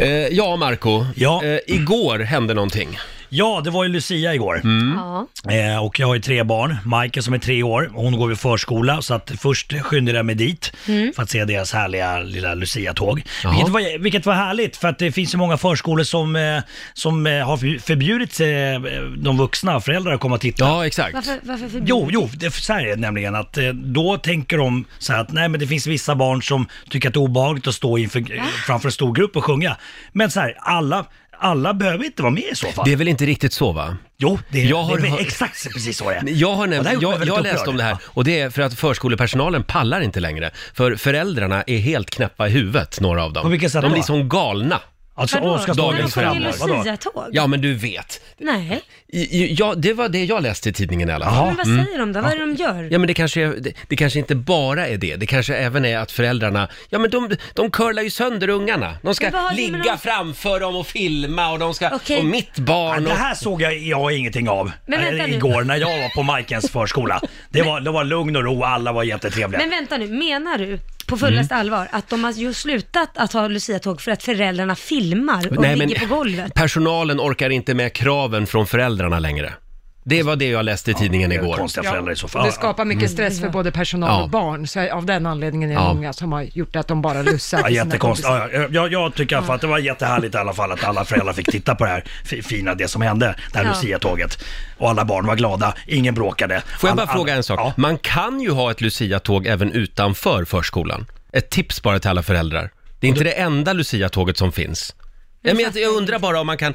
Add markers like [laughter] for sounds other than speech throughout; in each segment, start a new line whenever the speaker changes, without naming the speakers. Eh, ja, Marco.
Ja.
Eh, igår hände någonting.
Ja, det var ju Lucia igår.
Mm.
Ja.
Eh, och jag har ju tre barn. Michael som är tre år, hon går i förskola. Så att först skyndade jag mig dit för att se deras härliga lilla Lucia-tåg.
Jaha.
Vilket var, vilket var härligt för att det finns ju många förskolor som, eh, som eh, har för- förbjudit eh, de vuxna, föräldrar att komma och titta.
Ja, exakt.
Varför, varför förbjuder
Jo, jo, det, så här är det nämligen att eh, då tänker de så här att nej men det finns vissa barn som tycker att det är obehagligt att stå inför, framför en stor grupp och sjunga. Men så här, alla, alla behöver inte vara med i så fall.
Det är väl inte riktigt så, va?
Jo, det är,
Jag har
det är
hört-
exakt så- precis så det är.
Jag har, nämnt,
Och det här gjorde mig
jag,
väldigt
jag har läst
upprörd.
om det här och det är för att förskolepersonalen pallar inte längre. För föräldrarna är helt knäppa i huvudet, några av dem.
På vilket sätt
De blir
då?
som galna.
Alltså,
Vadå?
Oscar
När de
Dagens
sjunger
föräldrar.
Vadå?
Lucia-tåg?
Ja, men du vet.
Nej,
I- i- Ja, det var det jag läste i tidningen i alla fall.
Jaha.
men vad säger de då? Vad är det de gör?
Mm. Ja men det kanske, är, det, det kanske inte bara är det, det kanske även är att föräldrarna, ja men de, de curlar ju sönder ungarna. De
Men vad
ska
har det med
ligga
dem-
framför dem och filma och de ska,
Okej.
och mitt
Ja,
barn
Det
och...
här såg jag, jag ingenting av
Men vänta
eh,
nu.
igår när jag var på Majkens förskola. Det var, det var lugn och ro, alla var jättetrevliga.
Men vänta nu, menar du på
Mm.
fullaste allvar att de har ju slutat att ha Lucia-tåg för att föräldrarna filmar och
Nej, men
ligger på golvet?
personalen orkar inte med kraven från föräldrarna längre. Det var det jag läste i tidningen
Det är
igår.
Konstiga föräldrar i så fall.
Det skapar mycket stress för både personal
Ja.
och barn, så av den anledningen är det
Ja.
många som har gjort att de bara lussar.
Ja,
till sina
jättekonstigt.
kompisar.
Ja, ja, jag, jag tycker i alla fall att det var jättehärligt i alla fall att alla föräldrar fick titta på det här fi- fina, det som hände, det här
Ja.
Lucia-tåget. Och alla barn var glada, ingen bråkade.
Får jag
Alla-
bara fråga
alla-
en sak?
Ja.
Man kan ju ha ett Lucia-tåg även utanför förskolan. Ett tips bara till alla föräldrar. Det är inte det enda Lucia-tåget som finns. Ja, men jag, jag undrar bara om man kan...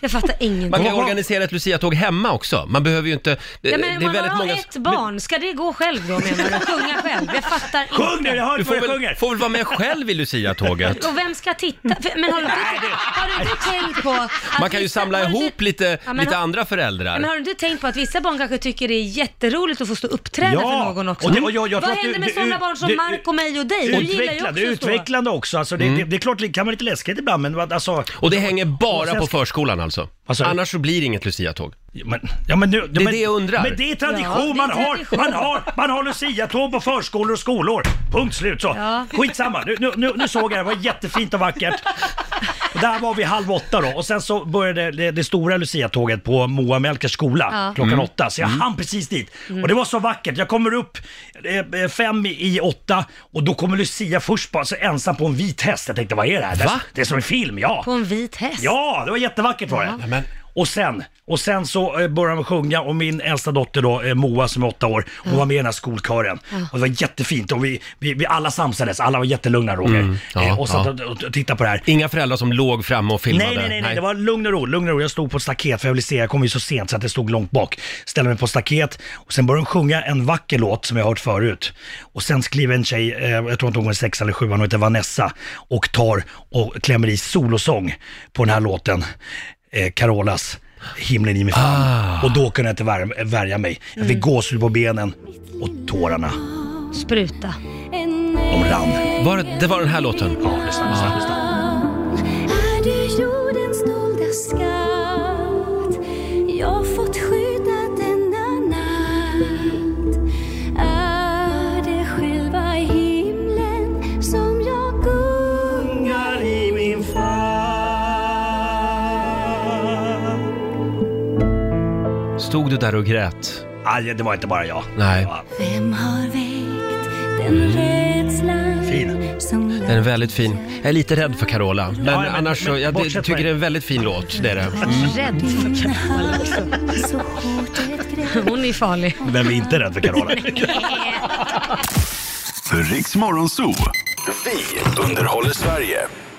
Jag fattar ingenting.
Man kan ju
Jaha.
organisera ett Lucia-tåg hemma också. Man behöver ju inte...
Ja, men om man har ett barn, ska det gå själv då menar
[laughs]
du? Sjunga själv? Jag fattar
Sjung nu,
inte.
jag hör
Du
inte vad
får
jag sjunger!
väl, får väl vara med själv i
[laughs]
Lucia-tåget.
Och vem ska titta? För- Men har du inte, har du inte tänkt på... att
Man kan ju
vissa-
samla
har du inte-
ihop lite,
Ja, men
lite
har-
andra föräldrar.
Men har du inte tänkt på att vissa barn kanske tycker det är jätteroligt att få stå och uppträda
Ja,
för någon också?
och det- och jag- jag
Vad
tror att du-
händer med
du-
sådana barn som
du-
Marco, mig och dig?
Det är
Du gillar ju också
utvecklande, det är
att stå.
utvecklande också. Alltså, det, det, det är klart, det kan vara lite läskigt ibland, men vad- alltså...
Och det hänger
Och
bara
sen
på
ska-
förskolan alltså?
Vad sa du?
Annars så blir det inget Lucia-tåg.
Men, ja, men nu, det
det jag undrar.
Men det är tradition,
Ja, det är
man,
tradition.
Har, man har, man har luciatåg på förskolor och skolor. Punkt slut så.
Ja.
Skitsamma, nu, nu, nu, nu såg jag det, det var jättefint och vackert. Och där var vi halv åtta då och sen så började det, det stora luciatåget på Moa Melkers skola
Ja. Mm.
klockan
Mm.
åtta. Så jag hann precis dit. Och det var så vackert, jag kommer upp eh, eh, fem i i åtta och då kommer Lucia först bara så ensam på en vit häst. Jag tänkte vad är det här? Det är-
Va?
Det är som en film, ja.
På en vit häst?
Ja, det var jättevackert var det.
men-
Och sen, och sen så eh, började de sjunga och min äldsta dotter då, eh, Moa som är åtta år, hon var med i den här skolkören. Och det var jättefint och vi, vi, vi alla samsades, alla var jättelugna Roger.
Mm. ja,
Eh, och satt
ja.
och, och, och tittade på det här.
Inga föräldrar som låg fram och filmade?
Nej, nej, nej, nej, det var lugn och ro, lugn och ro. Jag stod på ett staket för jag ville se, jag kom ju så sent så att det stod långt bak. Ställde mig på ett staket och sen började de sjunga en vacker låt som jag har hört förut. Och sen skriver en tjej, eh, jag tror inte hon är sex eller sju, hon heter Vanessa, och tar och klämmer i solosång på den här låten, eh, Carolas Himlen i mig famn. Och då kunde jag inte värja, värja mig. Jag fick gåshud på benen och tårarna,
Spruta.
de rann.
Var det, det var den här låten?
Ja, lyssna, lyssna, lyssna.
Är du jordens dolda skatt? Jag fått skydda denna natt. Är det själva himlen som jag gungar?
Sjungar i min famn
Stod du där och grät?
Nej, det var inte bara jag.
Nej.
Ja,
Vem har väckt den rädslan
Fin.
som
Den är väldigt fin. Jag är lite rädd för Carola, men,
Ja, men-
annars så,
men
jag det-
bortsett
tycker
från-
det är en väldigt fin låt, det är det.
Rädd för Carola.
så hårt ett grepp
Hon är ju farlig.
Vem är inte rädd för Carola?
Riks Morgonzoo. Vi underhåller Sverige.